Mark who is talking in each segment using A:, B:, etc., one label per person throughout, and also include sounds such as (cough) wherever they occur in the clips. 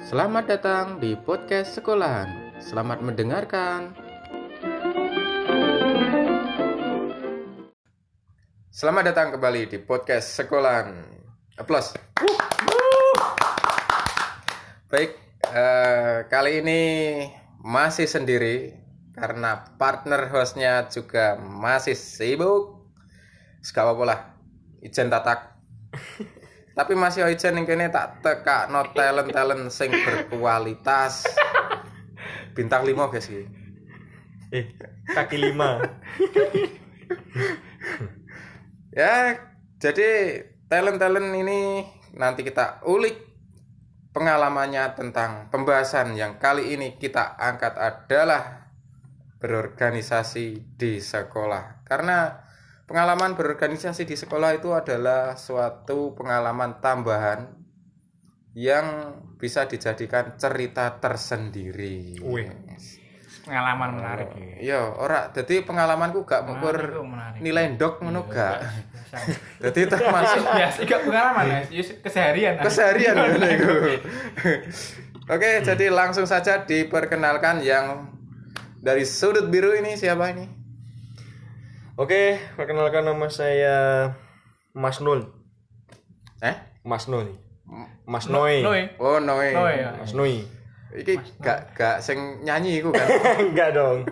A: Selamat datang di podcast sekolahan. Selamat mendengarkan. Selamat datang kembali di podcast sekolahan. Aplaus. Baik, eh, kali ini masih sendiri karena partner hostnya juga masih sibuk. Gak apa-apa lah, ijen tatak. Tapi masih ijen yang kene tak teka no talent talent sing berkualitas. Bintang 5 guys iki.
B: Eh, kaki lima.
A: Ya, jadi talent-talent ini nanti kita ulik pengalamannya tentang pembahasan yang kali ini kita angkat adalah berorganisasi di sekolah. Karena pengalaman berorganisasi di sekolah itu adalah suatu pengalaman tambahan yang bisa dijadikan cerita tersendiri.
B: Wih.
C: pengalaman menarik ya.
A: Yo, ora dadi pengalamanku gak
C: Menarik,
A: mengukur
C: kok, menarik.
A: nilai ndok ngono
C: Iya.
A: gak.
C: Biasa.
A: Dadi termasuk
C: Biasa Iya, gak pengalaman Mas, Yus, keseharian. Mas.
A: keseharian
B: (laughs)
A: bener itu. Oke, jadi
B: Hmm.
A: langsung saja diperkenalkan yang dari sudut biru ini siapa ini?
B: Oke, perkenalkan nama saya Mas Nul.
A: Eh?
B: Mas Nul. Mas Noi.
C: Noe.
A: Oh, Noe.
C: Noe ya.
B: Mas Noi.
A: Iki gak gak sing nyanyi iku kan.
B: (laughs) Enggak dong.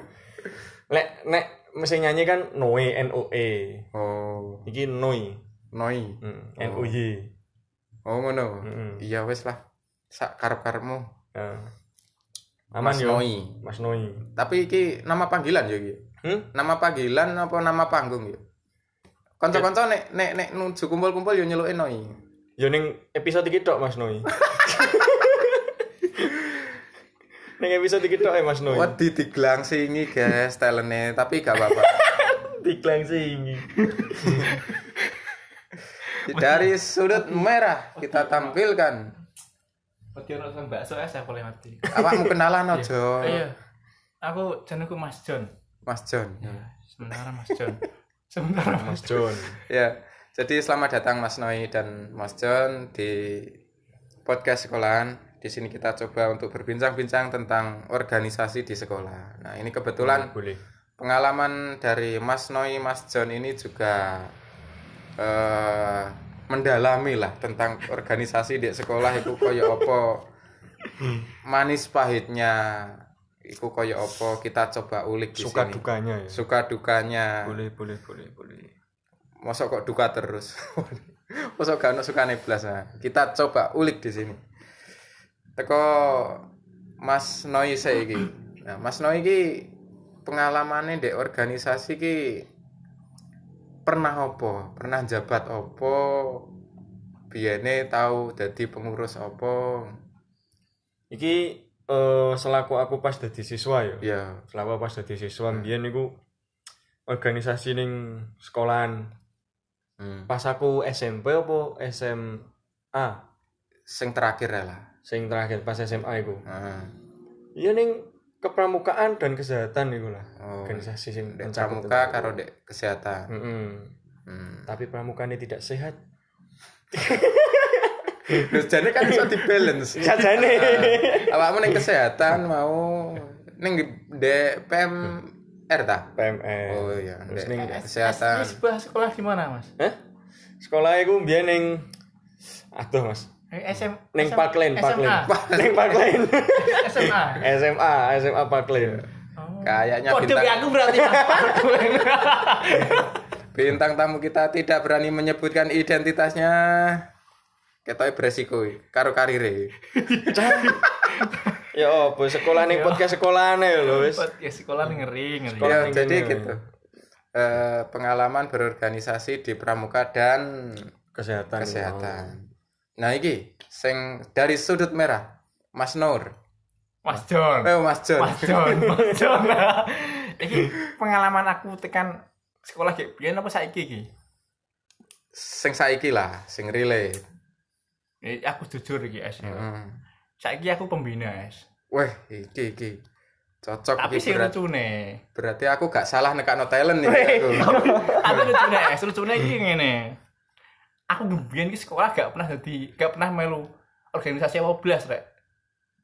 B: Lek nek mesti nyanyi kan Noe N O E.
A: Oh,
B: Iki Noi.
A: Noi.
B: Hmm, N O Y.
A: Oh, ngono.
B: Mm-mm.
A: Iya wes lah. Sak karep-karepmu.
B: Ya. Aman
A: Mas
B: yo.
A: Noi.
B: Mas Noi.
A: Tapi iki nama panggilan ya iki.
B: Hmm?
A: Nama panggilan apa nama panggung ya? Kanca-kanca nek nek nek nuju kumpul-kumpul yo nyeluke Noi.
B: Yo ning episode iki tok Mas Noi. Ning episode iki tok eh Mas Noi.
A: Wedi diglangsingi guys talente, tapi gak apa-apa.
B: Diklang sih.
A: (laughs) Dari sudut merah kita tampilkan.
C: Wedi ono sang bakso es aku lewati.
A: Awakmu kenalan oh, ojo.
C: Iya. Aku jenengku Mas John.
A: Mas John.
C: Iya. Sementara Mas John. Sementara
B: Mas
C: Mas
B: John.
A: Ya. Jadi selamat datang Mas Noi dan Mas John di podcast sekolahan. Di sini kita coba untuk berbincang-bincang tentang organisasi di sekolah. Nah, ini kebetulan
B: Boleh.
A: pengalaman dari Mas Noi, Mas John ini juga eh mendalami lah tentang organisasi di sekolah itu koyo opo manis pahitnya iku koyo opo kita coba ulik di
B: Suka
A: sini.
B: dukanya ya.
A: suka dukanya
B: Boleh, boleh, boleh, boleh.
A: mosok kok duka terus (laughs) mosok gak ono sukane blas nah. kita coba ulik di sini teko Mas Noi saiki nah Mas Noi iki pengalamannya di organisasi ki pernah opo pernah jabat opo biyene tahu dadi pengurus opo
B: Iki eh, selaku aku pas dadi siswa ya.
A: ya
B: Selaku aku pas dadi siswa mbiyen niku organisasi ning sekolahan.
A: hmm.
B: Pas aku SMP apa SMA
A: sing terakhir ya lah Nah,
B: sing terakhir pas SMA iku.
A: Heeh.
B: Iya ning kepramukaan dan kesehatan iku lah.
A: oh
B: Organisasi sing
A: dek
B: mencakup
A: pramuka
B: tentang-
A: karo dek kesehatan
B: Mm-mm.
A: hmm.
B: Tapi pramukanya tidak sehat.
A: Terus jane kan iso dibalance.
B: Sajane.
A: Heeh. Awakmu ning kesehatan mau ning DPM R ta?
B: PMS.
A: Oh iya,
B: Terus
A: Dek.
B: ning
A: kesehatan.
C: Yus, bah, sekolah di mana, Mas?
B: Hah? Sekolah iku mbiyen ning aduh Mas.
C: Eh, SM
B: Ning Parkland,
C: SMA.
B: Parkland. Ning Parkland.
C: SMA.
B: SMA, SMA Parkland.
C: Oh.
A: Kayaknya
C: Kode
A: bintang,
C: be aku berarti Mas. (laughs) Parkland.
A: bintang tamu kita tidak berani menyebutkan identitasnya. Ketoknya beresiko iki, karo karire.
B: Ya opo sekolah ning podcast sekolahane ya lho wis.
C: Ya sekolah nih ngeri, ngeri.
B: Sekolah.
A: Ya,
B: yang
A: jadi
B: gini.
A: gitu. Eh, pengalaman berorganisasi di pramuka dan
B: Kesehatan.
A: kesehatan. Nah, iki sing dari sudut merah. Mas Nur.
C: Mas John.
A: Eh, Mas John.
C: Mas
A: (laughs)
C: John, Mas John. Iki pengalaman aku tekan sekolah ki biyen apa saiki iki?
A: sing saiki lah, sing relate.
C: Eh, aku jujur iki es. ya.
A: Hmm.
C: Saiki aku pembina es.
A: Weh, iki iki. Cocok
C: Tapi
A: iki
C: sing
A: berat-
C: lucune.
A: berarti aku gak salah nekakno talent nih aku.
C: Tapi lucune es, lucune iki ngene. Aku biyen ki sekolah gak pernah dadi, gak pernah melu organisasi apa blas rek.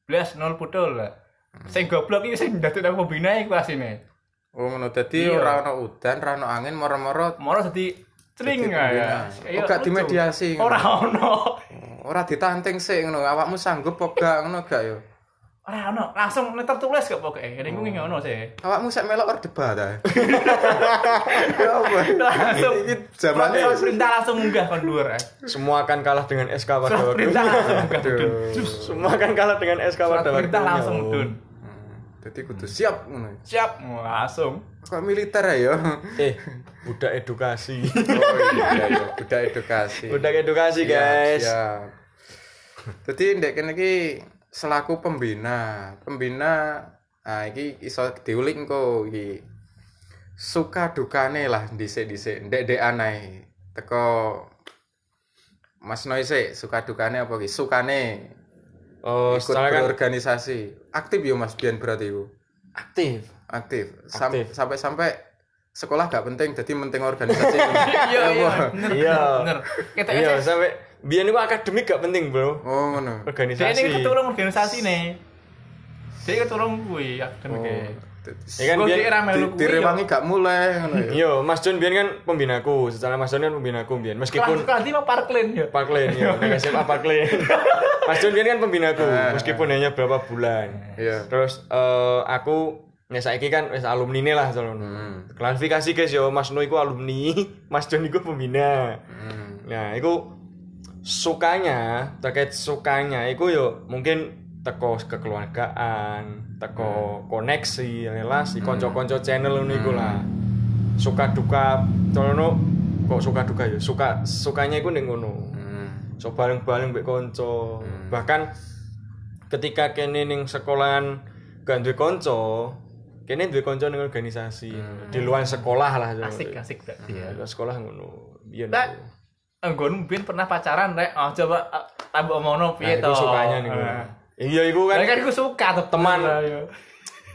C: blas nol budol lah.
A: Hmm.
C: Sing goblok iki sing dadi nang pembina iku asine.
A: Oh ngono dadi
C: Iya.
A: ora ono udan, ora ono angin, moro-moro
C: Moro dadi
A: Dadi
C: cering
A: pembina.
C: ya. Iya,
A: Oh, gak
C: lucu.
A: dimediasi.
C: Ora ono.
A: ora ditanting sik ngono. Awakmu sanggup apa gak ngono gak yo.
C: Ora ono. Langsung nek tertulis kok pokoke. Ning kuwi ngono sih.
A: Awakmu sik melok orde bat
C: (laughs)
A: ae. Ya apa?
C: Langsung
A: Iki zamane
C: Langsung
B: ya.
C: perintah langsung munggah kon dhuwur. eh.
B: Semua akan kalah dengan SK pada
C: Surat
B: waktu.
C: perintah langsung
B: (laughs)
C: munggah.
A: Aduh.
C: Dun.
B: Semua akan kalah dengan SK
C: Surat
B: pada waktu.
C: perintah langsung dun.
A: Hmm, Dadi kudu siap ngono.
C: Siap,
B: (laughs)
C: langsung.
A: Kok militer ae
C: (laughs)
A: yo.
B: Eh, budak edukasi.
A: Oh iya yo, budak edukasi.
B: (laughs) budak edukasi, guys.
A: Siap. Jadi ndek kene iki selaku pembina, pembina ah iki iso diulik engko iki. Suka dukane lah dhisik-dhisik ndek-ndek anae. Teko Mas Noise suka dukane apa iki? Sukane
B: Oh,
A: ikut
B: secara kan
A: berorganisasi. Aktif yo Mas Bian berarti iku.
B: aktif.
A: Aktif. Sam-
B: Aktif.
A: Sampai-sampai sekolah gak penting, jadi penting organisasi.
C: Iya, iya, bener,
B: Ya, Iya.
C: bener. Kita
B: Iya, sampai biyen itu akademik gak penting, Bro.
A: Oh ngono.
C: Dia ini
B: Organisasi.
C: ketulung organisasi nih. Dia ketulung kuwi kan, akademik.
A: Oh.
B: Ya kan
C: Kan dia
B: biyen
C: era melu
A: Di-
C: kuwi.
A: Direwangi gak mulai ngono ya.
B: Yo, Mas John biyen kan pembinaku, secara Mas John kan pembinaku biyen.
C: Kelas
B: Meskipun
C: kelas lima parklin ya.
B: Paklen ya, nek SMA Paklen. Mas John biyen kan pembinaku, meskipun hanya berapa bulan.
A: Iya.
B: Terus eh, aku nek saiki kan wis alumni nih lah soalnya.
A: Hmm.
B: Klarifikasi guys yo, Mas Noi ku alumni, (laughs) Mas John iku pembina.
A: Hmm.
B: Nah, iku sukanya terkait sukanya iku yo mungkin teko kekeluargaan, teko koneksi, relasi, konco-konco channel ngono iku lah. Suka duka, soalnya kok suka duka yo, suka sukanya iku ning ngono.
A: Hmm.
B: So bareng-bareng mbek konco.
C: Hmm.
B: Bahkan ketika kene ning sekolahan gak duwe konco, kene duwe konco ning organisasi, di luar sekolah lah.
C: Hmm. Asik asik berarti
B: Di
C: ya.
B: luar sekolah ngono. Biyen
C: Nah,
B: aku.
C: Anggon bin pernah pacaran rek. Oh coba eh, tambah omono
B: Nah,
C: piye
B: iku
C: to. Ah.
B: sukanya nih. gua. Iya, iku kan
C: Lah kan aku suka tuh
B: Teman.
C: Lah, iya.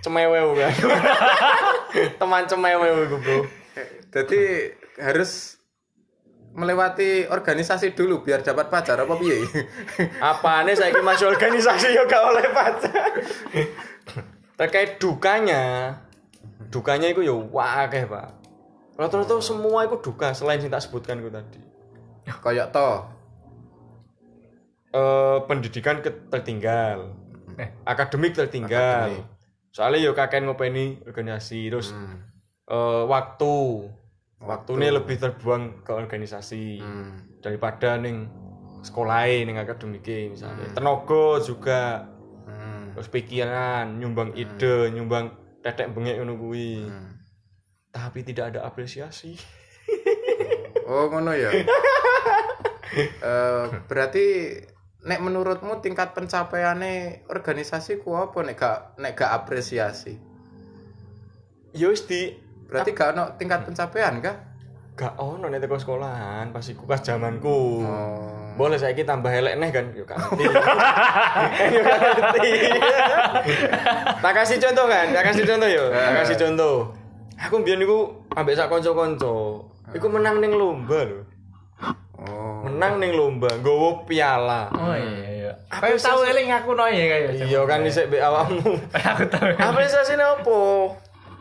B: cemewe
C: (laughs)
B: kan. Teman cemewe iku, Bro.
A: Jadi harus melewati organisasi dulu biar dapat pacar apa piye? (laughs)
B: Apane saiki masuk organisasi yo gak oleh pacar. Terkait dukanya, dukanya itu yo wakeh, Pak. Rata-rata semua itu duka selain yang tak sebutkan itu tadi.
A: Kayak to.
B: Eh pendidikan ke- tertinggal.
C: Eh.
B: Akademik tertinggal. Soalnya yo kakek ngopeni organisasi terus eh, waktu waktunya lebih terbuang ke organisasi
A: Hmm.
B: daripada ning sekolah ning akademike misalnya tenaga juga
A: Hmm.
B: terus pikiran nyumbang ide nyumbang tetek bengek ngono kuwi
A: Hmm.
B: tapi tidak ada apresiasi
A: Oh ngono ya. Eh, berarti nek menurutmu tingkat pencapaiannya organisasi ku apa nek gak nek gak apresiasi?
B: ya wis di
A: Berarti gak ono tingkat pencapaian kah?
B: gak ono nek teko sekolahan pas iku pas zamanku
A: Oh.
B: boleh saiki tambah elek neh kan yo gak ngerti (laughs) yo gak ngerti (laughs) tak kasih contoh kan tak kasih contoh yo tak kasih contoh aku mbiyen niku ambek sak kanca-kanca iku menang ning lomba lho
A: Oh.
B: menang ning lomba nggawa piala
C: Oh iya iya. Kayak tahu eling aku no ya kayak.
B: iya kan isek mbek awakmu
C: (laughs) Aku tahu.
B: apresiasi apa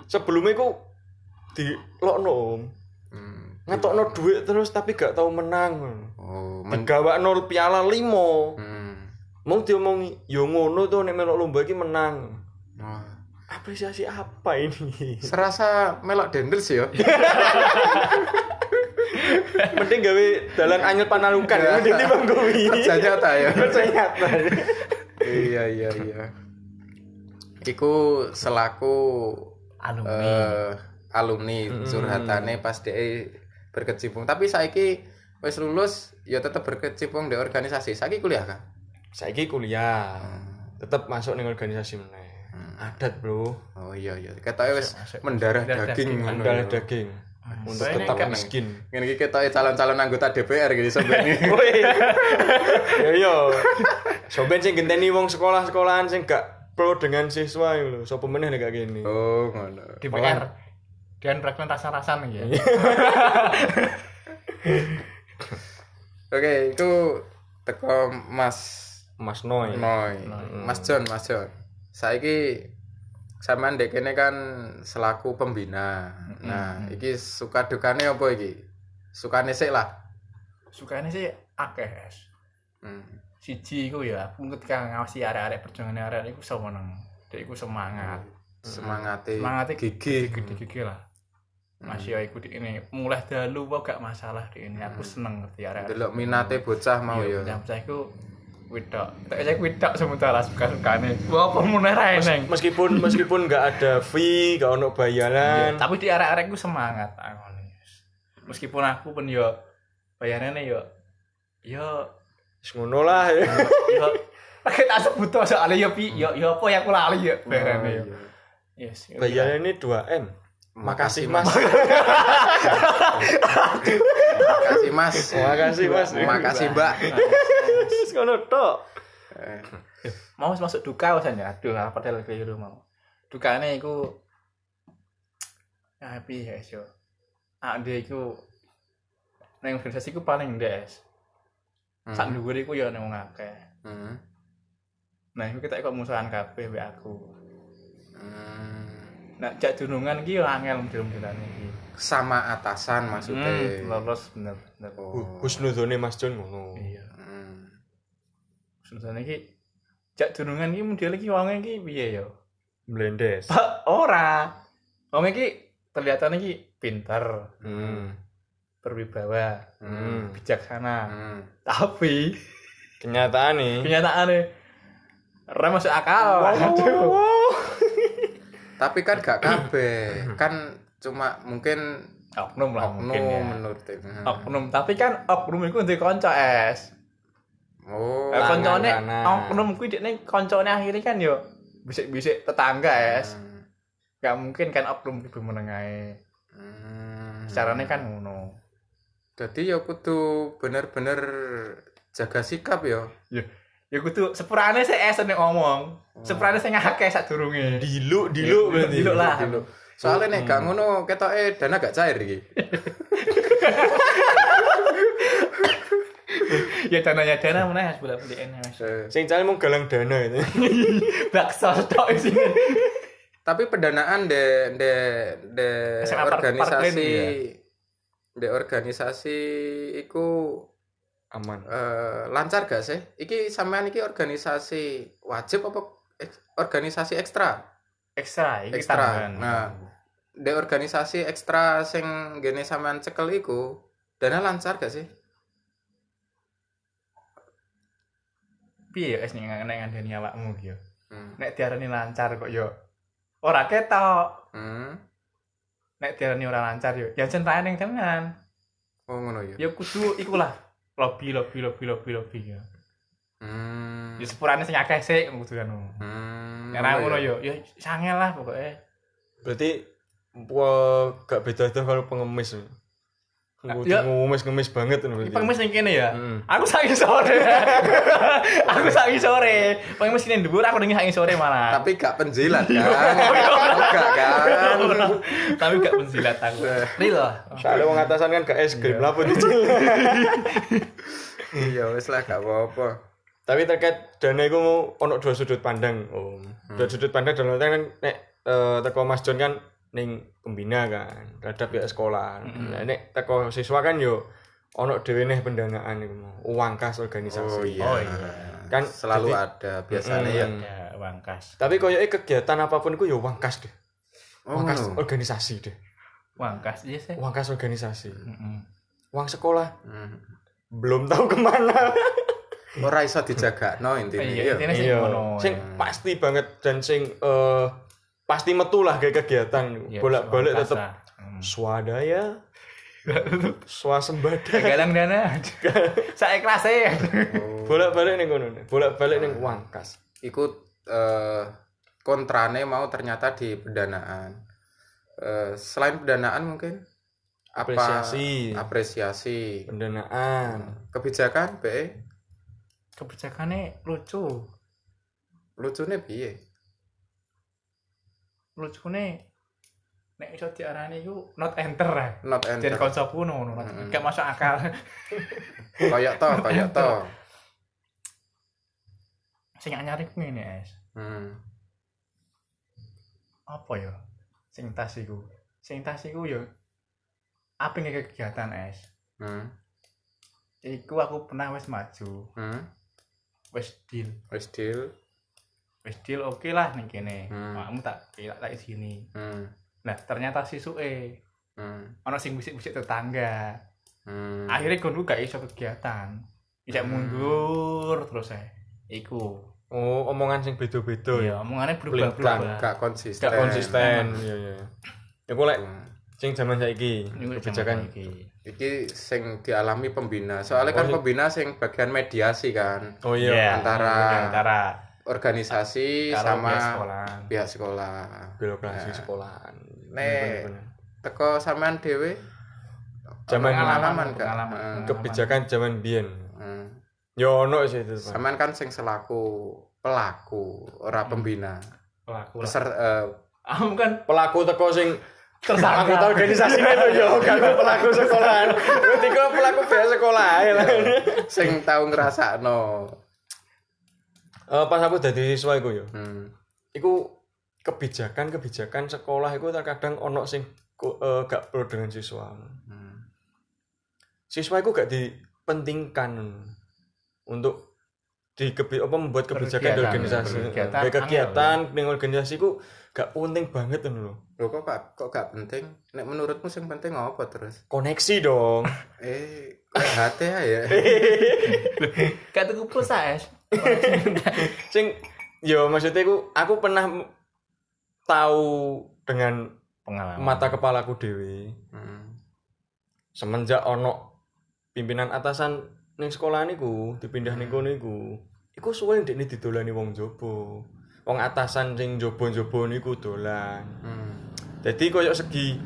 B: sebelumnya ku di lokno om
A: Hmm.
B: ngetokno duit terus tapi gak tau menang
A: Oh, men-
B: digawakno piala limo
A: Hmm.
B: mau diomongi yo ngono tuh nek melok lomba iki menang
A: Wah.
B: apresiasi apa ini (laughs)
A: Serasa melok dendels ya.
B: mending gawe dalan anyel panalukan ya mending timbang kuwi
A: Ternyata ya.
B: ternyata
A: iya iya iya iku selaku
C: Alumni.
A: eh, alumni curhatane pas DE berkecimpung tapi saiki wis lulus ya tetep berkecimpung di organisasi saiki kuliah kah
B: saiki kuliah tetep masuk ning organisasi meneh adat bro
A: oh iya iya ketoke wis mendarah
C: Mendarah
A: daging ngono
B: andal
A: ya.
B: daging untuk
C: Soalnya
B: tetap
C: (laughs) kan-
B: miskin
A: ngene iki ketoke calon-calon anggota DPR gitu
C: (laughs)
A: sebenarnya
C: Oh,
B: Woi.
C: iya.
B: Yo yo. Soben sing genteni wong sekolah-sekolahan sing gak pro dengan siswa iku lho. Sopo meneh nek gak kene.
A: oh ngono
C: DPR. Dan Pregnant rasa-rasan ya.
A: Oke, itu teko Mas
B: Mas Noy.
A: Noy. Mas John, Mas John. Saiki sampean dek kene kan selaku pembina. Nah, iki suka dukane apa iki? Sukane sik lah.
C: Sukane sih akeh.
A: Hmm.
C: Siji iku ya, aku ketika ngawasi arek-arek perjuangan arek iku iso meneng. Dek iku semangat.
A: Semangate.
C: Semangate Iya.
A: gigi.
C: gede-gede lah. Masih ya iku dik ini mulai dalu wae gak masalah dik ini. Aku seneng ngerti arek-arek.
A: Delok minate bocah mau
C: Iya,
A: ya.
C: Jam saya iku wedok. Tak saya wedok sementara suka-sukane. Wah, apa mun ora eneng.
B: Meskipun meskipun nggak ada fee, nggak ono bayaran.
C: Tapi di arek-arek ku semangat aku nih. Meskipun aku pun yo bayarannya yo yo
B: Wis ngono lah.
C: (laughs) yo Oke, tak sebut tuh soalnya yo pi yo yo apa yang aku lali yo bayarannya yo. Oh, Yes. yo.
B: Bayaran ini 2 m. Makasih
A: Makasih,
B: mas.
A: Makasih Mas.
B: Makasih mas.
A: Makasih Mbak.
B: Wis ngono tok.
A: Eh,
C: Mau masuk duka usahanya. Aduh, lah, padahal keliru mau. Dukane iku ya piye guys yo. Ah, dia iku nang organisasi ku paling ndes. Sak
A: hmm,
C: dhuwur iku yo nang wong akeh.
A: hmm,
C: Nah, iku kita kok musuhan kabeh mbek aku.
A: hmm.
C: Nah, jak dunungan iki yo angel mudah-mudahan iki.
A: Sama atasan maksudnya.
C: Hmm, lolos bener-bener.
A: Oh.
B: Husnudone Mas John ngono.
C: Iya.
A: Hmm.
C: Susane iki jak dunungan iki model iki wonge iki piye ya?
B: Blendes.
C: Pak ora. Wong iki kelihatan iki pinter,
B: Hmm.
C: berwibawa,
B: Hmm.
C: bijaksana.
A: Hmm.
C: Tapi
B: Kenyataan nih.
C: kenyataannya ora masuk akal. Aduh.
A: Tapi kan gak kabeh, kan cuma mungkin
C: Oknum Hmm. lah mungkin
A: oknum
C: ya.
A: menurut Hmm.
C: Oknum, tapi kan oknum iku ndek kanca es.
A: Oh.
C: Eh, Koncone
B: lanang.
C: oknum kuwi dekne koncone akhirnya kan yo bisik-bisik tetangga es.
A: Hmm.
C: Gak mungkin kan oknum kudu meneng ae.
A: Hmm.
C: Carane kan ngono.
A: Jadi ya kudu bener-bener jaga sikap ya.
C: ya kudu sepurane sih es nek ngomong
A: Hmm.
C: sepurane sing ngakeh sadurunge
A: (laughs)
B: Diluk, diluk berarti.
C: diluk lah
A: Diluk. Gitu. Soalnya nih
C: Hmm.
A: gak ngono ketoke dana gak cair iki.
C: ya dananya dana
A: Hmm.
C: meneh harus bolak balik mas
A: Eh,
B: Sing cari mau galang dana itu.
C: bakso tok isine
A: Tapi pendanaan de de de
C: SMA part-
A: organisasi
C: partner, iya.
A: de organisasi iku
B: Aman.
A: eh, lancar gak sih? Iki sampean iki organisasi wajib apa ek- organisasi ekstra?
C: ekstra iki
A: Ekstra,
C: tambahan
A: nah. De organisasi ekstra sing gene sampean cekel iku dana lancar gak sih?
C: piye ya es ning nek ngandani awakmu iki yo
A: Hmm.
C: nek diarani lancar kok yo ora ketok
A: Hmm.
C: nek diarani ora lancar yo ya centrae ning dengan
A: Oh ngono ya.
C: ya kudu iku lah lobby lobby lobby lobby lobby ya
A: Hmm.
C: ya sepurane sing akeh sik kudu anu
A: Hmm.
C: nek ora ngono yo ya sangel lah pokoke
B: Berarti wah gak beda tuh kalau pengemis. Kudu
C: Nah, Ya.
B: ngemis ngemis banget ini berarti.
C: pengemis ning kene ya
B: Hmm.
C: Aku saking sore. (laughs) aku saking sore. Pengen mesti ning dhuwur aku ning saking sore malah.
A: Tapi gak penjilat kan? Enggak
C: (laughs)
A: kan?
C: Tapi gak pensilat aku. Ril.
B: Soalnya wong atasan kan gak es krim lah pun kecil. (laughs)
A: Iya wis lah gak apa-apa.
B: Tapi terkait dana iku mau ono dua sudut pandang. Om. Dua sudut pandang dalam artian kan nek eh, teko Mas John kan ning pembina kan terhadap ya sekolah. Nah, nek teko siswa kan yo ono dhewe neh pendanaan iku mau uang kas organisasi.
A: Oh iya.
C: Oh, iya.
A: Kan
B: Kan
A: selalu
B: jadi-
A: ada biasanya ya.
B: Hmm.
C: Ya, wangkas.
B: Tapi koyo kegiatan apapun ku yo uang kas deh.
A: Oh,
B: Uang kas
A: ngono.
B: organisasi deh.
C: Wangkas iya sih.
B: Uang kas organisasi.
C: Heeh.
B: Uang sekolah
A: Hmm.
B: belum tahu kemana.
A: Ora iso dijagakno intine.
C: Iya,
A: Iya.
C: intine sing
B: iya
C: ngono.
B: sing pasti banget dan sing eh, pasti metu lah kayak kegiatan
C: Ya,
B: bolak-balik
C: wangkas
B: tetap
C: lah.
B: (laughs)
C: Hmm.
B: swadaya swasembada
C: Galang dana. Saya kelas ya.
A: Oh.
B: bolak-balik ning kono nih, bolak-balik ning wangkas
A: Iku eh, kontrane mau ternyata di pendanaan. Eh, selain pendanaan mungkin apa
B: Apresiasi.
A: apresiasi
B: pendanaan
A: kebijakan be
C: Kebijakannya lucu.
A: lucune piye
C: Lucune nek iso diarani iku not enter. ah.
A: not
C: Jadi
A: enter
C: konsep kuno, no, not- gak masuk akal.
A: koyok to koyok to
C: sing anyar iku ngene es
A: Hmm.
C: apa ya sing tas iku sing tas iku ya apa kegiatan es
A: Hmm.
C: iku aku pernah wis maju
A: Hmm.
C: wis deal
A: Wis deal.
C: wis deal oke lah ning kene
A: Hmm.
C: kamu tak tak tak sini
A: Hmm.
C: nah ternyata sisuke
A: Hmm.
C: ana sing bisik-bisik tetangga
A: Hmm.
C: akhirnya gonku gak iso kegiatan tidak
A: Hmm.
C: mundur terus eh iku
B: Oh, omongan sing beda-beda ya.
C: iya omongannya berubah-berubah
A: gak konsisten.
C: Gak
B: Konsisten, iya iya. Iku lek
A: Hmm.
B: sing zaman saiki
C: Iku zaman
B: kebijakan
C: iki.
A: Iki sing dialami pembina. Soalnya kan
B: Oh, iya.
A: pembina sing bagian mediasi kan
B: Oh iya,
C: Iya,
A: antara
C: antara ya,
A: organisasi
C: karo
A: sama
C: pihak sekolah
A: pihak sekolah.
B: birokrasi
A: Nah.
B: sekolahan.
A: Nek.
B: Bener-bener.
A: Teko sampean dhewe
B: Zaman
A: pengalaman gak?
C: pengalaman.
A: Heeh.
B: kebijakan zaman biyen.
A: Hmm.
B: Yo ono sih itu. Pak.
A: Sampean kan sing selaku pelaku ora pembina.
C: Hmm. pelaku lah
A: Peser, eh,
C: aku kan
B: Pelaku teko sing
C: tersangka
B: anggota organisasinya itu yo gak kok pelaku sekolahan. Berarti kok pelaku biaya sekolah ya. lah.
A: sing tau ngrasakno.
B: Eh, pas aku dadi siswa iku yo.
A: Hmm.
B: Iku kebijakan-kebijakan sekolah iku terkadang ono sing ku- eh, gak pro dengan siswa.
A: Hmm.
B: siswa itu gak dipentingkan untuk di kebi- apa membuat kebijakan di
C: Berkegiatan,
B: organisasi
C: berkegiatan,
B: Kayak kegiatan ning organisasi ku gak penting banget ngono lho
A: Loh kok gak, kok gak penting? Nek menurutmu sing penting apa terus?
B: koneksi dong
A: Eh, kayak hati ya.
C: (laughs)
A: ya.
C: Eh. gak tuku pulsa es
B: sing yo maksudnya aku aku pernah m- tahu dengan
C: pengalaman
B: mata kepalaku dewi
A: Hmm.
B: semenjak ono pimpinan atasan ning sekolah niku dipindah ning kono iku iku suwe ndekne didolani wong jobo wong atasan sing jobo-jobo niku dolan
A: Hmm.
B: jadi koyok segi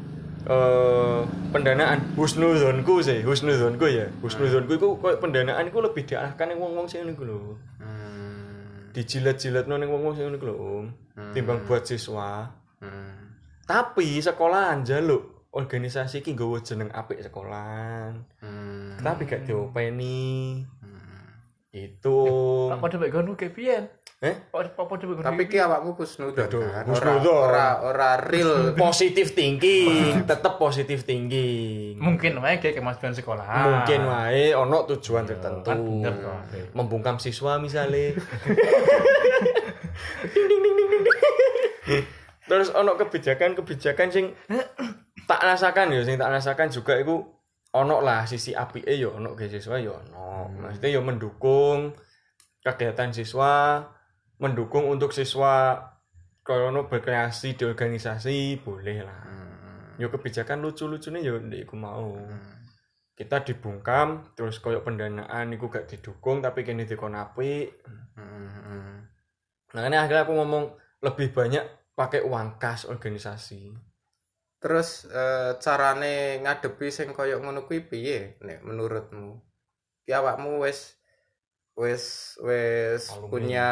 B: eh pendanaan husnuzonku sih husnuzonku ya husnuzonku itu koyok pendanaan itu lebih diarahkan yang wong-wong sing niku lho
A: Hmm.
B: dijilat-jilat ning wong-wong sing niku lho om
A: Hmm.
B: timbang buat siswa
A: Hmm.
B: tapi sekolahan jaluk organisasi iki nggawa jeneng apik sekolahan
A: Hmm.
B: tapi gak diopeni
A: Hmm.
B: itu
C: Pak podo mek gonku ke pian
B: Eh?
C: Pak podo mek gonku
A: Tapi ki awakmu kusnudon
B: Aduh,
A: kan. Ora
B: kusnudon.
A: ora ora
C: (laughs)
A: real.
B: positif tinggi tetap positif tinggi
C: mungkin wae kayak kemajuan sekolah
B: mungkin wae ono tujuan tertentu
C: kan bener toh
B: (laughs) membungkam siswa misalnya terus ono kebijakan kebijakan sing (clears throat) tak rasakan ya sing tak rasakan juga itu ono lah sisi api eh yo ono ke siswa yo ono maksudnya yo mendukung kegiatan siswa mendukung untuk siswa kalau ono berkreasi di organisasi boleh lah
A: Hmm.
B: yo kebijakan lucu-lucunya yo ndek iku mau kita dibungkam terus koyok pendanaan iku gak didukung tapi kini dikon apik
A: Hmm. Hmm.
B: makanya akhirnya aku ngomong lebih banyak pakai uang kas organisasi
A: Terus eh, carane ngadepi sing koyo ngono kuwi piye nek menurutmu? Ki awakmu wis wis wis
B: Alumni.
A: punya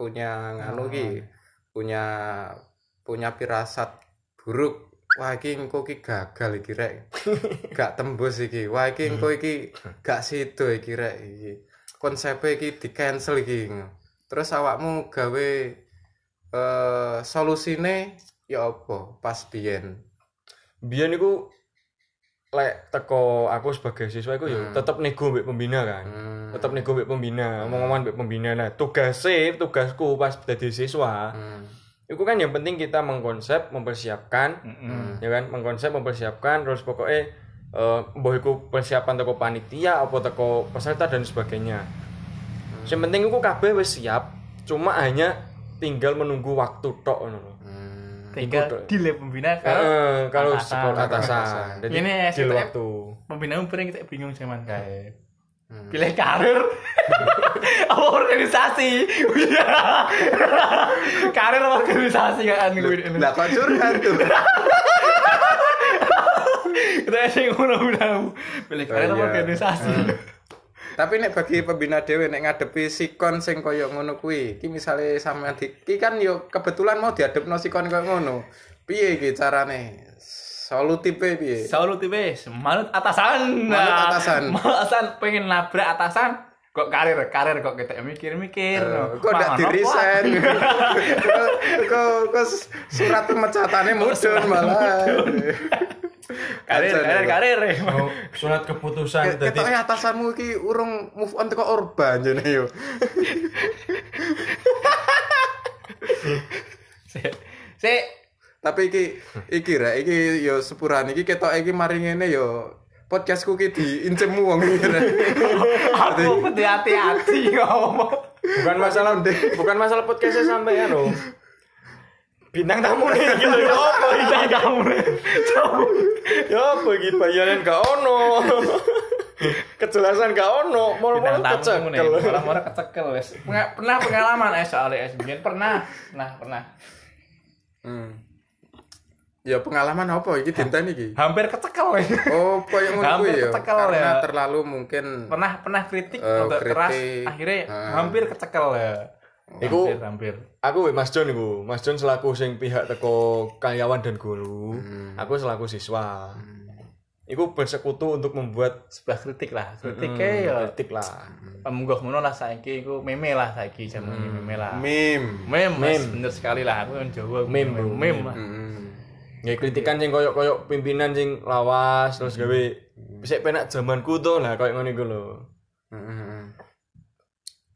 A: punya nganu ki, punya punya pirasat buruk. Wah iki engko ki gagal iki rek. Gak tembus iki. Wah iki engko iki gak sido iki rek iki. Konsepe iki di cancel iki. Terus awakmu gawe eh solusine ya apa pas biyen?
B: biar iku lek teko aku sebagai siswa iku yo
A: Hmm.
B: tetep nego mbek pembina kan
A: Hmm.
B: tetep nego mbek pembina ngomong-ngomong mbek pembina nah tugasnya tugasku pas jadi siswa
A: Hmm.
B: itu kan yang penting kita mengkonsep mempersiapkan
A: hmm,
C: Mm-mm.
B: ya kan mengkonsep mempersiapkan terus pokoknya eh mbah iku persiapan teko panitia apa teko peserta dan sebagainya
A: Hmm.
B: yang penting iku kabeh wis siap cuma hanya tinggal menunggu waktu tok ngono lho
A: Hmm.
C: tinggal
B: Ikut.
C: di lab pembina kan
B: Eh, kalau
C: atasan.
B: sekolah
A: Atasan.
B: atasan jadi
C: Ini
B: di
C: STM.
B: waktu
C: pembina pering kita bingung cuman kayak
A: Hmm.
C: pilih karir
B: (laughs)
C: apa organisasi (laughs) karir apa organisasi kan gue ini
A: Lah kok curhat tuh.
C: kita sih ngono bilang pilih karir
A: Oh,
C: apa
A: iya.
C: organisasi
A: (laughs) Tapi nek bagi pembina dhewe nek ngadepi sikon sing koyo ngono kuwi, iki misale sampean di- iki kan yo kebetulan mau diadepno sikon koyo ngono. Piye iki carane? Solutipe piye?
C: selalu tipe manut atasan Nah,
A: Manut atasan.
C: (laughs) Manut atasan pengen nabrak atasan kok karir karir kok kita mikir-mikir no.
A: Eh, Kok ndak
C: Mangan
A: di
C: apa?
A: resign? (laughs) Kok- Kok kok surat pemecatannya mudun malah.
C: (laughs) karir
A: Kacau
C: karir
A: nih, Pak.
B: (laughs)
C: karir
B: Oh, surat keputusan tadi
A: Ketoknya atasanmu ki urung move on teko Orba jane yo.
C: si si
A: Tapi iki iki ra iki yo sepurane iki ketok iki mari ngene yo podcastku ki diincemmu wong iki.
C: (laughs)
A: Ra.
C: aku kudu hati-hati (laughs) ngomong
B: bukan masalah bukan masalah podcastnya sampai ya loh bintang tamu nih gitu ya apa ini?
C: kita kamu
B: ya apa gitu bayaran gak ono kejelasan gak ono mau mau
C: bintang tamu nih
B: kecekel
C: orang-orang kecekel wes Pernah- pernah pengalaman eh soal es Bian. pernah pernah pernah
A: Hmm. Ya pengalaman apa iki dinten
C: (laughs)
A: iki?
C: hampir kecekel wes
A: Oh, koyo ngono
C: Hampir
A: kuwi ya.
C: ketekel
A: Karena
C: ya.
A: terlalu mungkin
C: pernah pernah kritik
A: Eh,
C: untuk keras
A: kritik.
C: akhirnya
A: Ah.
C: hampir kecekel ya
B: Iku-
C: hampir hampir
B: aku weh, Mas John iku. Mas John selaku sing pihak teko karyawan dan guru. Aku selaku siswa. Iku bersekutu untuk membuat
C: sebelah kritik lah kritik
B: hmm,
C: ya
B: kritik lah.
C: munggah ngono lah saiki iku meme lah saiki jaman ini meme lah
A: meme.
C: meme Mas. bener sekali lah aku kan Jawa
B: Mm. Meme,
C: meme
B: bro.
C: meme lah
A: Hmm.
B: Ya kritikan sing koyok-koyok pimpinan sing lawas terus gawe sik penak zamanku to lah koyok ngene iku lho.
A: Heeh. Hmm,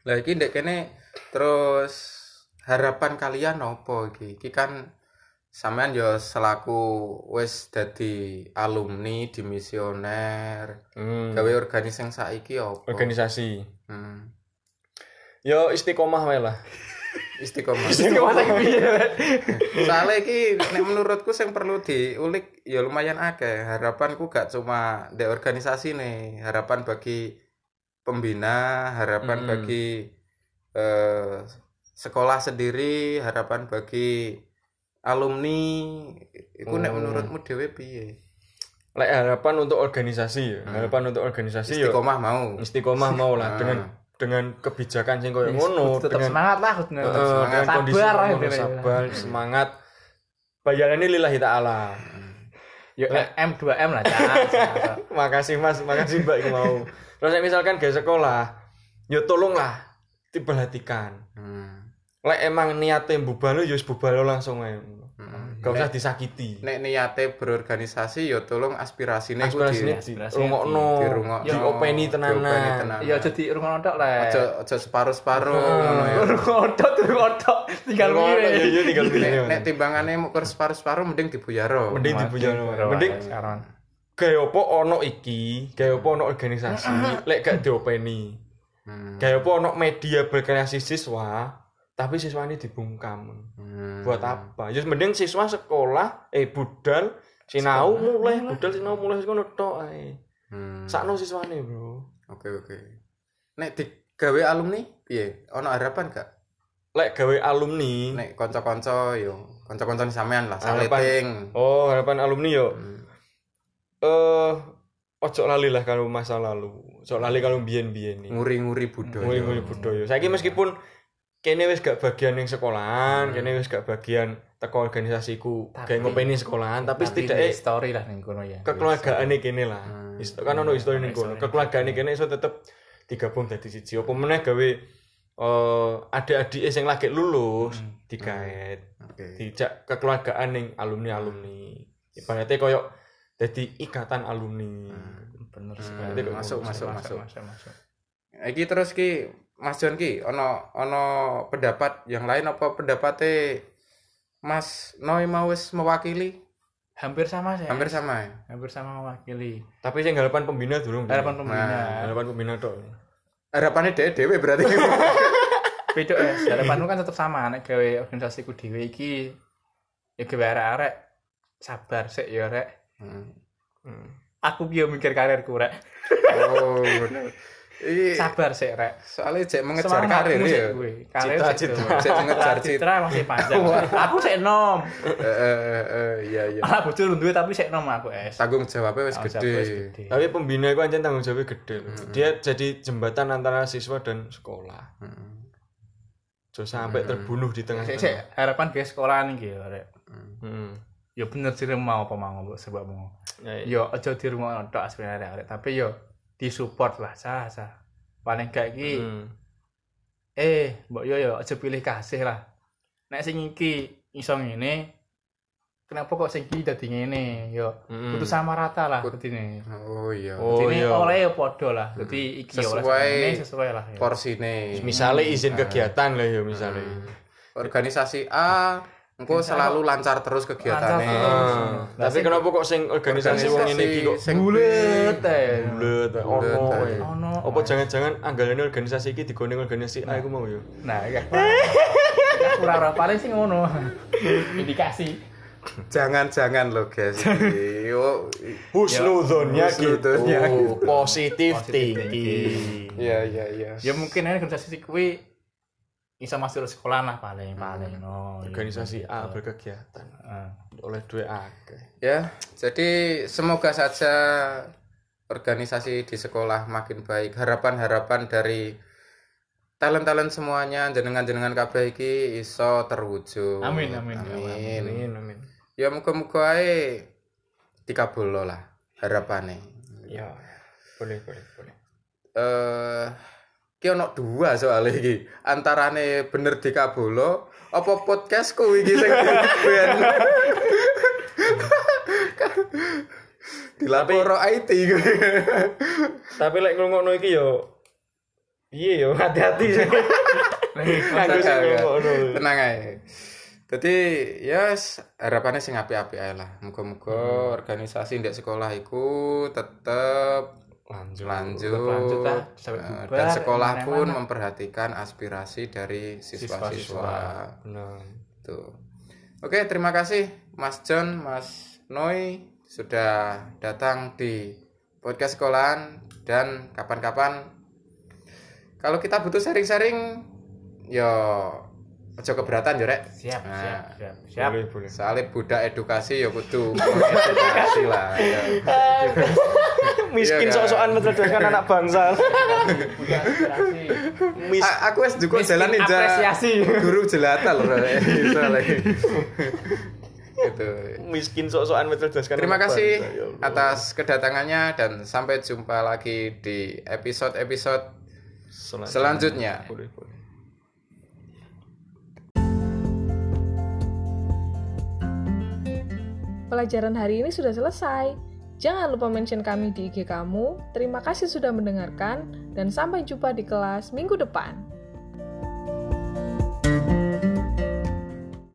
A: Lah iki ndek kene terus harapan kalian apa iki? Iki kan sampean yo selaku wis dadi alumni di misioner,
B: Hmm.
A: gawe organis yang saiki apa?
B: Organisasi.
A: Hmm.
B: Yo istiqomah wae lah. (laughs)
A: Istiqomah.
C: Iku masa iki
A: Soalnya iki nek menurutku sing perlu diulik ya lumayan akeh. Harapanku gak cuma ndek organisasi nih, harapan bagi pembina, harapan
B: Mm-mm.
A: bagi eh, sekolah sendiri, harapan bagi alumni. Iku nek
B: Oh.
A: menurutmu dhewe piye?
B: Lek harapan untuk organisasi ya. Harapan untuk organisasi yo
A: Istiqomah mau.
B: istiqomah mau lah
A: Ah.
B: dengan dengan kebijakan sing koyok ngono
C: tetap
B: dengan
C: semangat lah tetap
B: Eh,
C: semangat
B: dengan kondisi
C: sabar lah
B: ngono,
C: gitu ya.
B: sabar semangat bayarannya lillahi ta'ala
C: Yo eh, M2M lah
B: (laughs)
C: jangan.
B: makasih mas makasih mbak iku mau terus nek misalkan gak sekolah ya tolonglah diperhatikan
A: Hmm.
B: lek emang niatnya bubalo ya wis bubalo langsung ae
A: Hmm.
B: gak usah disakiti
A: Nek niate berorganisasi ya tolong aspirasine iku
B: aspirasi
A: di
B: ini
C: aspirasi
B: dirungokno
A: di- dirungokno, diopeni
B: diopeni tenanan
A: tenanan.
C: Ya jadi rumah nonton lah.
A: aja
B: Eh,
A: aja separuh-separuh ngono ya.
C: Rumah nonton, rumah nonton, tinggal
B: Dirungokno, ya,
C: milih.
B: ya, tinggal
A: nek,
B: milih.
A: nek timbangannya mau ke separuh-separuh mending dibuyaro
B: mending dibujano mending
C: sekarang.
B: gaya apa ono iki gaya apa ono organisasi lek gak diopeni
A: Hmm.
B: Kayak apa ono media berkreasi siswa, tapi siswa ini dibungkam.
A: Hmm.
B: Buat apa? Ya mending siswa sekolah, eh budal, sinau mulai, budal sinau mulai ngono tok ae.
A: Hmm.
B: Sakno siswane, Bro.
A: Oke oke. Nek digawe alumni piye? Ono harapan gak?
B: Lek gawe alumni,
A: Nek kanca-kanca yo, kanca-kanca sampean lah,
B: Harapan.
A: saleting.
B: oh harapan alumni yo.
A: Hmm.
B: Eh ojo lali lah kalau masa lalu. Ojo lali kalau biyen-biyen iki.
A: Nguri-nguri budaya.
B: Nguli-nguli budaya. Saiki meskipun kene wis gak bagian yang sekolahan, kene wis gak bagian teko organisasiku,
C: Tapi-
B: gak ngopeni sekolahan, tapi
C: Setidaknya
B: setidaknya
C: story lah ning kono ya.
B: kekeluargaan kene lah.
A: Hmm.
B: Isto kan ono histori ning kono. Kekeluargaan kene iso tetep digabung dadi siji. Apa meneh gawe eh adik-adike sing lagi lulus digaet,
A: Hmm. Oke.
B: dijak kekeluargaan ning alumni-alumni. Ibaratnya koyo dadi ikatan alumni.
C: Bener
A: Hmm,
C: sekali.
A: masuk, masuk, masuk.
C: masuk.
A: Iki terus ki Mas John ki ono ono pendapat yang lain apa pendapatnya Mas Noi mau wis mewakili?
C: Hampir sama sih.
A: Hampir sama ya.
C: Hampir sama mewakili.
B: Tapi sing harapan pembina durung.
C: Harapan
B: Durung.
C: pembina.
B: harapan pembina tok.
A: Harapannya dhewe-dhewe berarti.
B: (laughs)
C: Beda ya. Harapanmu kan tetap sama nek gawe organisasiku dhewe iki ya gawe arek-arek sabar sik ya rek.
A: Hmm.
B: Hmm.
C: Aku piye mikir karirku rek.
A: Oh. bener. Iki
C: Sabar sik rek.
A: soalnya cek mengejar karir
C: Semangatmu sik
A: ya.
C: kuwi. Karir sik
B: Cita-cita.
C: kuwi.
A: Cek mengejar cita.
C: Citra masih panjang. aku sik nom.
A: Eh, eh, eh, eh, iya iya.
C: Ala bojo duwe tapi sik nom aku es.
A: Tanggung jawabnya wis
C: Tanggung jawab wis
A: gede.
C: gede.
B: Tapi pembina itu anjen tanggung jawabnya gede loh. Dia jadi jembatan antara siswa dan sekolah.
A: Heeh.
B: Jangan sampai terbunuh di
C: Sik sik
B: tengah-tengah.
C: harapan gawe sekolahan iki ya rek.
B: Hmm.
C: Ya bener sih mau apa mau Bu, sebab mau.
B: Ya,
C: Yo aja di rumah tok sebenarnya rek, tapi yo disupport lah sah sah. paling gak iki
B: Hmm.
C: eh mbok yo yo aja pilih kasih lah nek sing iki iso ngene kenapa kok sing iki dadi ngene yo
B: Mm-mm.
C: kudu sama rata lah
A: Kut-
C: kudune
A: Oh iya.
B: Hmm. Oh. Hmm.
C: Dene
B: iya.
C: oleh yo padha lah dadi iki oleh
A: Sesuai-
C: ngene sesuai lah yo.
A: Porsine. Hmm.
B: Misalnya izin kegiatan lah ya misalnya.
A: Organisasi A engko selalu lancar terus
C: Lancar
A: kegiatannya.
C: terus.
B: Ah, tapi kenapa kok sing organisasi wong ini iki kok
A: sing
C: bulet eh.
B: bulet ono
A: Bulet, eh.
B: eh.
C: Ono.
B: Apa jangan-jangan anggalannya organisasi iki digone organisasi A iku mau ya.
C: nah ya ora-ora paling sih ngono
B: (laughs)
C: indikasi
A: Jangan-jangan lo guys. Iki, oh, i-
B: Husnudonnya
A: Husnudonnya gitu.
B: Ya. gitu. Positif
C: Positive
B: thinking.
A: Iya iya iya.
C: ya mungkin aja organisasi kuwi iso masuk sekolah lah paling paling Ah, no
B: Hmm. Organisasi A berkegiatan
C: Heeh.
B: oleh dua akeh.
A: Ya, jadi semoga saja organisasi di sekolah makin baik. Harapan-harapan dari talent-talent semuanya, jenengan-jenengan kabeh iki iso terwujud.
C: Amin, amin.
A: Amin.
B: Amin amin.
A: Ya muga-muga ae dikabulno lah harapane.
B: Ya. Boleh boleh boleh.
A: Eh iki ono dua soal iki. Antarane bener dikabulno apa podcastku iki sing ben. (laughs) Dilapor IT gue.
B: Tapi lek ngrungokno iki yo Iya yo (laughs) hati-hati sih. Aku sing ngrungokno.
A: tenang aja jadi yes harapannya sing api-api aja lah muga-muga
C: Hmm.
A: organisasi di sekolah iku tetep
B: Lanjut.
A: lanjut,
C: tetep lanjut lah, sampai
A: Eh,
C: bubar,
A: dan sekolah
C: yang
A: pun
C: mana-mana.
A: memperhatikan aspirasi dari siswa-siswa
B: Benar.
A: tuh Gitu. oke terima kasih Mas John Mas Noi sudah datang di podcast sekolahan dan kapan-kapan kalau kita butuh sharing-sharing yo ojo keberatan yo rek
C: siap
A: Nah.
C: siap siap siap
B: Ah. Boleh boleh.
A: Soale budak edukasi ya kudu
C: (laughs)
A: edukasi lah. ya. Iya,
B: Miskin
A: kan?
B: sok-sokan mencerdaskan anak bangsa. (laughs)
C: Punya aspirasi.
B: Mis
A: A- aku es juga jalan
C: Miskin
A: ninja
C: (laughs) apresiasi.
A: guru jelata loh
C: (laughs)
A: Rek. Soale. gitu.
B: miskin sok-sokan mencerdaskan.
A: Terima
B: anak
A: kasih
B: bangsa, ya Allah.
A: atas kedatangannya dan sampai jumpa lagi di episode-episode selanjutnya.
B: Boleh boleh.
D: Pelajaran hari ini sudah selesai. Jangan lupa mention kami di IG kamu. Terima kasih sudah mendengarkan, dan sampai jumpa di kelas minggu depan.